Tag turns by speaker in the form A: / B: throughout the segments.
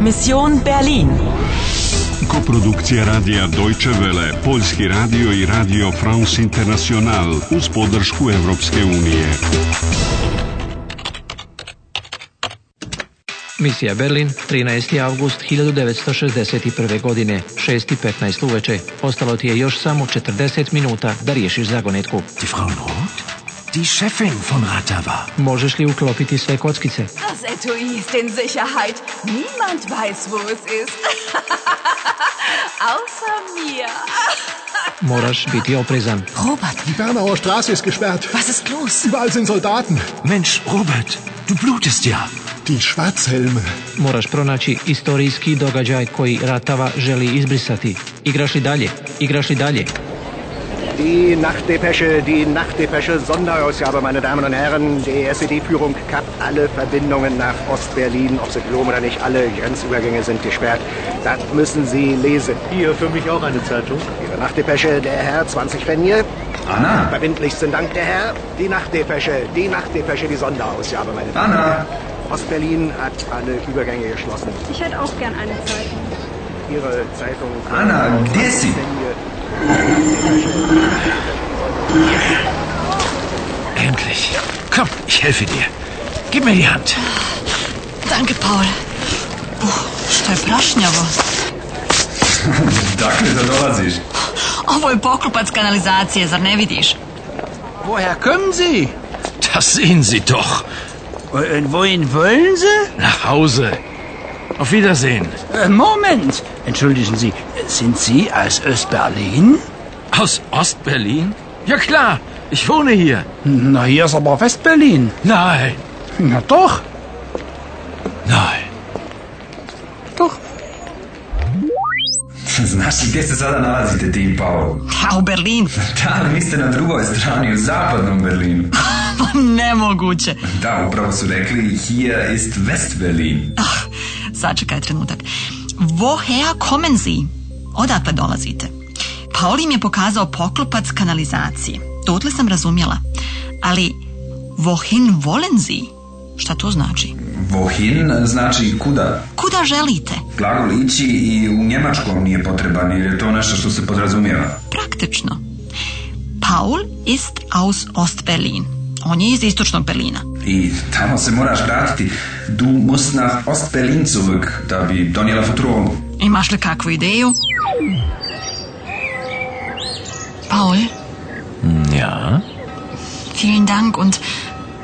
A: Mission Berlin.
B: Koprodukcija radija Deutsche Welle, Poljski radio i radio France International uz podršku Europske unije.
C: Misija Berlin, 13. avgust 1961. godine, 6.15 uveče. Ostalo ti je još samo 40 minuta da riješiš zagonetku.
D: Die Frau Roth? Die Chefin von Ratava.
C: Možeš li uklopiti sve kockice?
E: Das Etui ist in Sicherheit. Niemand weiß, wo es ist. Außer mir.
C: Moraš biti oprezan.
F: Robert,
G: Die Bernauer Straße ist gesperrt.
F: was ist los?
G: Überall sind Soldaten.
D: Mensch, Robert, du blutest ja.
G: Die Schwarzhelme.
C: Moraš pronaći istorijski događaj koji Ratava želi izbrisati. Igraš li dalje? Igraš li dalje?
H: Die Nachtdepesche, die Nachtdepesche, Sonderausgabe, meine Damen und Herren. Die SED-Führung kappt alle Verbindungen nach Ostberlin, ob Sie glauben oder nicht, alle Grenzübergänge sind gesperrt. Das müssen Sie lesen. Hier für mich auch eine Zeitung. Ihre Nachtdepesche, der Herr, 20 Fenje. Anna. Verbindlichsten Dank, der Herr. Die Nachtdepesche, die Nachtdepesche, die Sonderausgabe, meine Damen und Herren. Ostberlin hat alle Übergänge geschlossen.
I: Ich hätte auch gern eine Zeitung.
H: Ihre Zeitung.
J: Anna, Desi.
D: Endlich. Komm, ich helfe dir. Gib mir die Hand.
F: Danke, Paul. Oh, što je prašnjavo.
J: Dakle, da dolaziš.
F: Ovo je poklopac kanalizacije, zar ne vidiš?
K: Woher kommen Sie?
D: Das sehen Sie doch.
K: Und Äh, wohin wollen Sie?
D: Nach Hause. Auf Wiedersehen.
K: Äh, Moment. Entschuldigen Sie, sind Sie aus Östberlin?
D: Aus Ostberlin? Ja klar, ich wohne hier.
K: Na, hier ist aber Westberlin.
D: Nein,
K: Na doch.
D: nein.
J: Znaš li Znači, gdje se sada nalazite ti i Paolo?
F: Ja, u Berlin.
J: Da, ali vi ste na drugoj strani, u zapadnom Berlinu.
F: Pa ne nemoguće.
J: Da, upravo su rekli, hier ist Westberlin.
F: Sačekaj trenutak. Woher kommen Sie? Odakle dolazite? Paul im je pokazao poklopac kanalizacije. Dotle sam razumjela. Ali, wohin wollen Sie? Šta to znači?
J: Wohin znači kuda?
F: Kuda želite?
J: Glagol ići i u njemačkom nije potreban, jer je to nešto što se podrazumijeva.
F: Praktično. Paul ist aus Ostberlin. On je iz istočnog Berlina.
J: I tamo se moraš vratiti. Du musst nach Ostberlin zurück, da bi donijela futrolu.
F: Imaš li kakvu ideju? Paul,
D: Ja,
F: vielen Dank und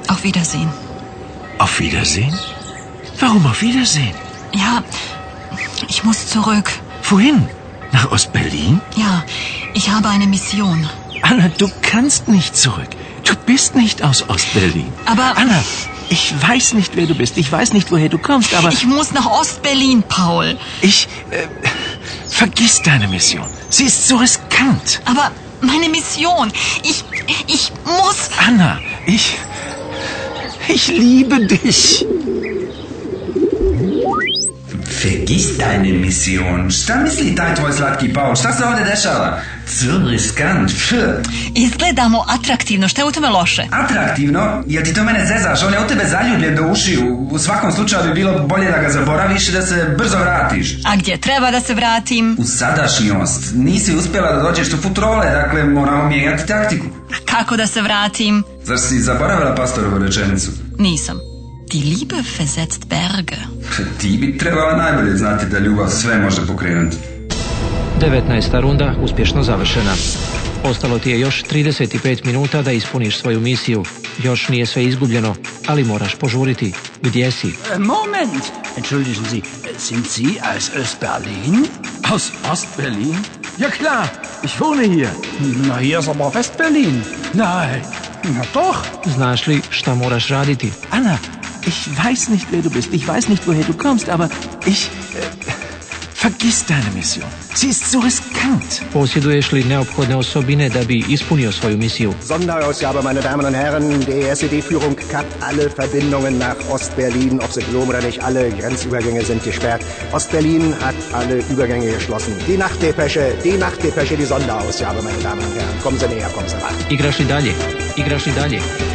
F: auf Wiedersehen.
D: auf Wiedersehen? Warum auf Wiedersehen?
F: Ja, ich muss zurück.
D: Wohin? Nach Ostberlin?
F: Ja, ich habe eine Mission.
D: Anna, du kannst nicht zurück. Du bist nicht aus Ostberlin.
F: Aber-
D: Anna, ich weiß nicht, wer du bist. Ich weiß nicht, woher du kommst, aber
F: Ich muss nach Ostberlin, Paul.
D: ich äh, vergiss deine Mission. Sie ist so riskant.
F: Aber meine Mission. Ich, ich muss.
D: Anna, ich. Ich liebe dich.
J: Vergiss deine Mission. Šta misli taj tvoj slatki Paul? Šta se ovdje dešava? C riskant. F.
F: Izgledamo atraktivno. Šta je u tome loše?
J: Atraktivno, jer ti to mene zezaš, on je u tebe zaljubljen do ušiju. U svakom slučaju bi bilo bolje da ga zaboraviš i da se brzo vratiš.
F: A gdje treba da se vratim?
J: U sadašnjost nisi uspjela da dođeš do futrole, dakle moramo mijenjati taktiku.
F: Kako da se vratim?
J: Zar si zaboravila pastorovu rečenicu?
F: Nisam. Die Liebe versetzt Berge.
J: Ti bi trebala najbolje znati da ljubav sve može pokrenuti.
C: 19. runda uspješno završena. Ostalo ti je još 35 minuta da ispuniš svoju misiju. Još nije sve izgubljeno, ali moraš požuriti. Gdje si?
K: Äh, Moment. Entschuldigen Sie, sind Sie aus Östberlin?
D: Aus Ostberlin? Ja klar, ich wohne hier.
K: Na, hier ist aber Westberlin.
D: Nein.
K: Na doch.
C: Znaš li šta moraš raditi?
D: Anna, ich weiß nicht, wer du bist. Ich weiß nicht, woher du kommst, aber ich. Äh, vergiss deine Mission. Sie ist so riskant.
C: Posjeduješ li neophodne osobine da bi ispunio svoju misiju?
H: Sonderausgabe, meine Damen und Herren. Die SED-Führung kappt alle Verbindungen nach Ostberlin, ob sie glauben oder nicht. Alle Grenzübergänge sind gesperrt. Ostberlin hat alle Übergänge geschlossen. Die Nachtdepesche, die Nachtdepesche, die Sonderausgabe, meine Damen und Herren. Kommen Sie näher, kommen Sie ran.
C: Igraš li dalje? Igraš li dalje?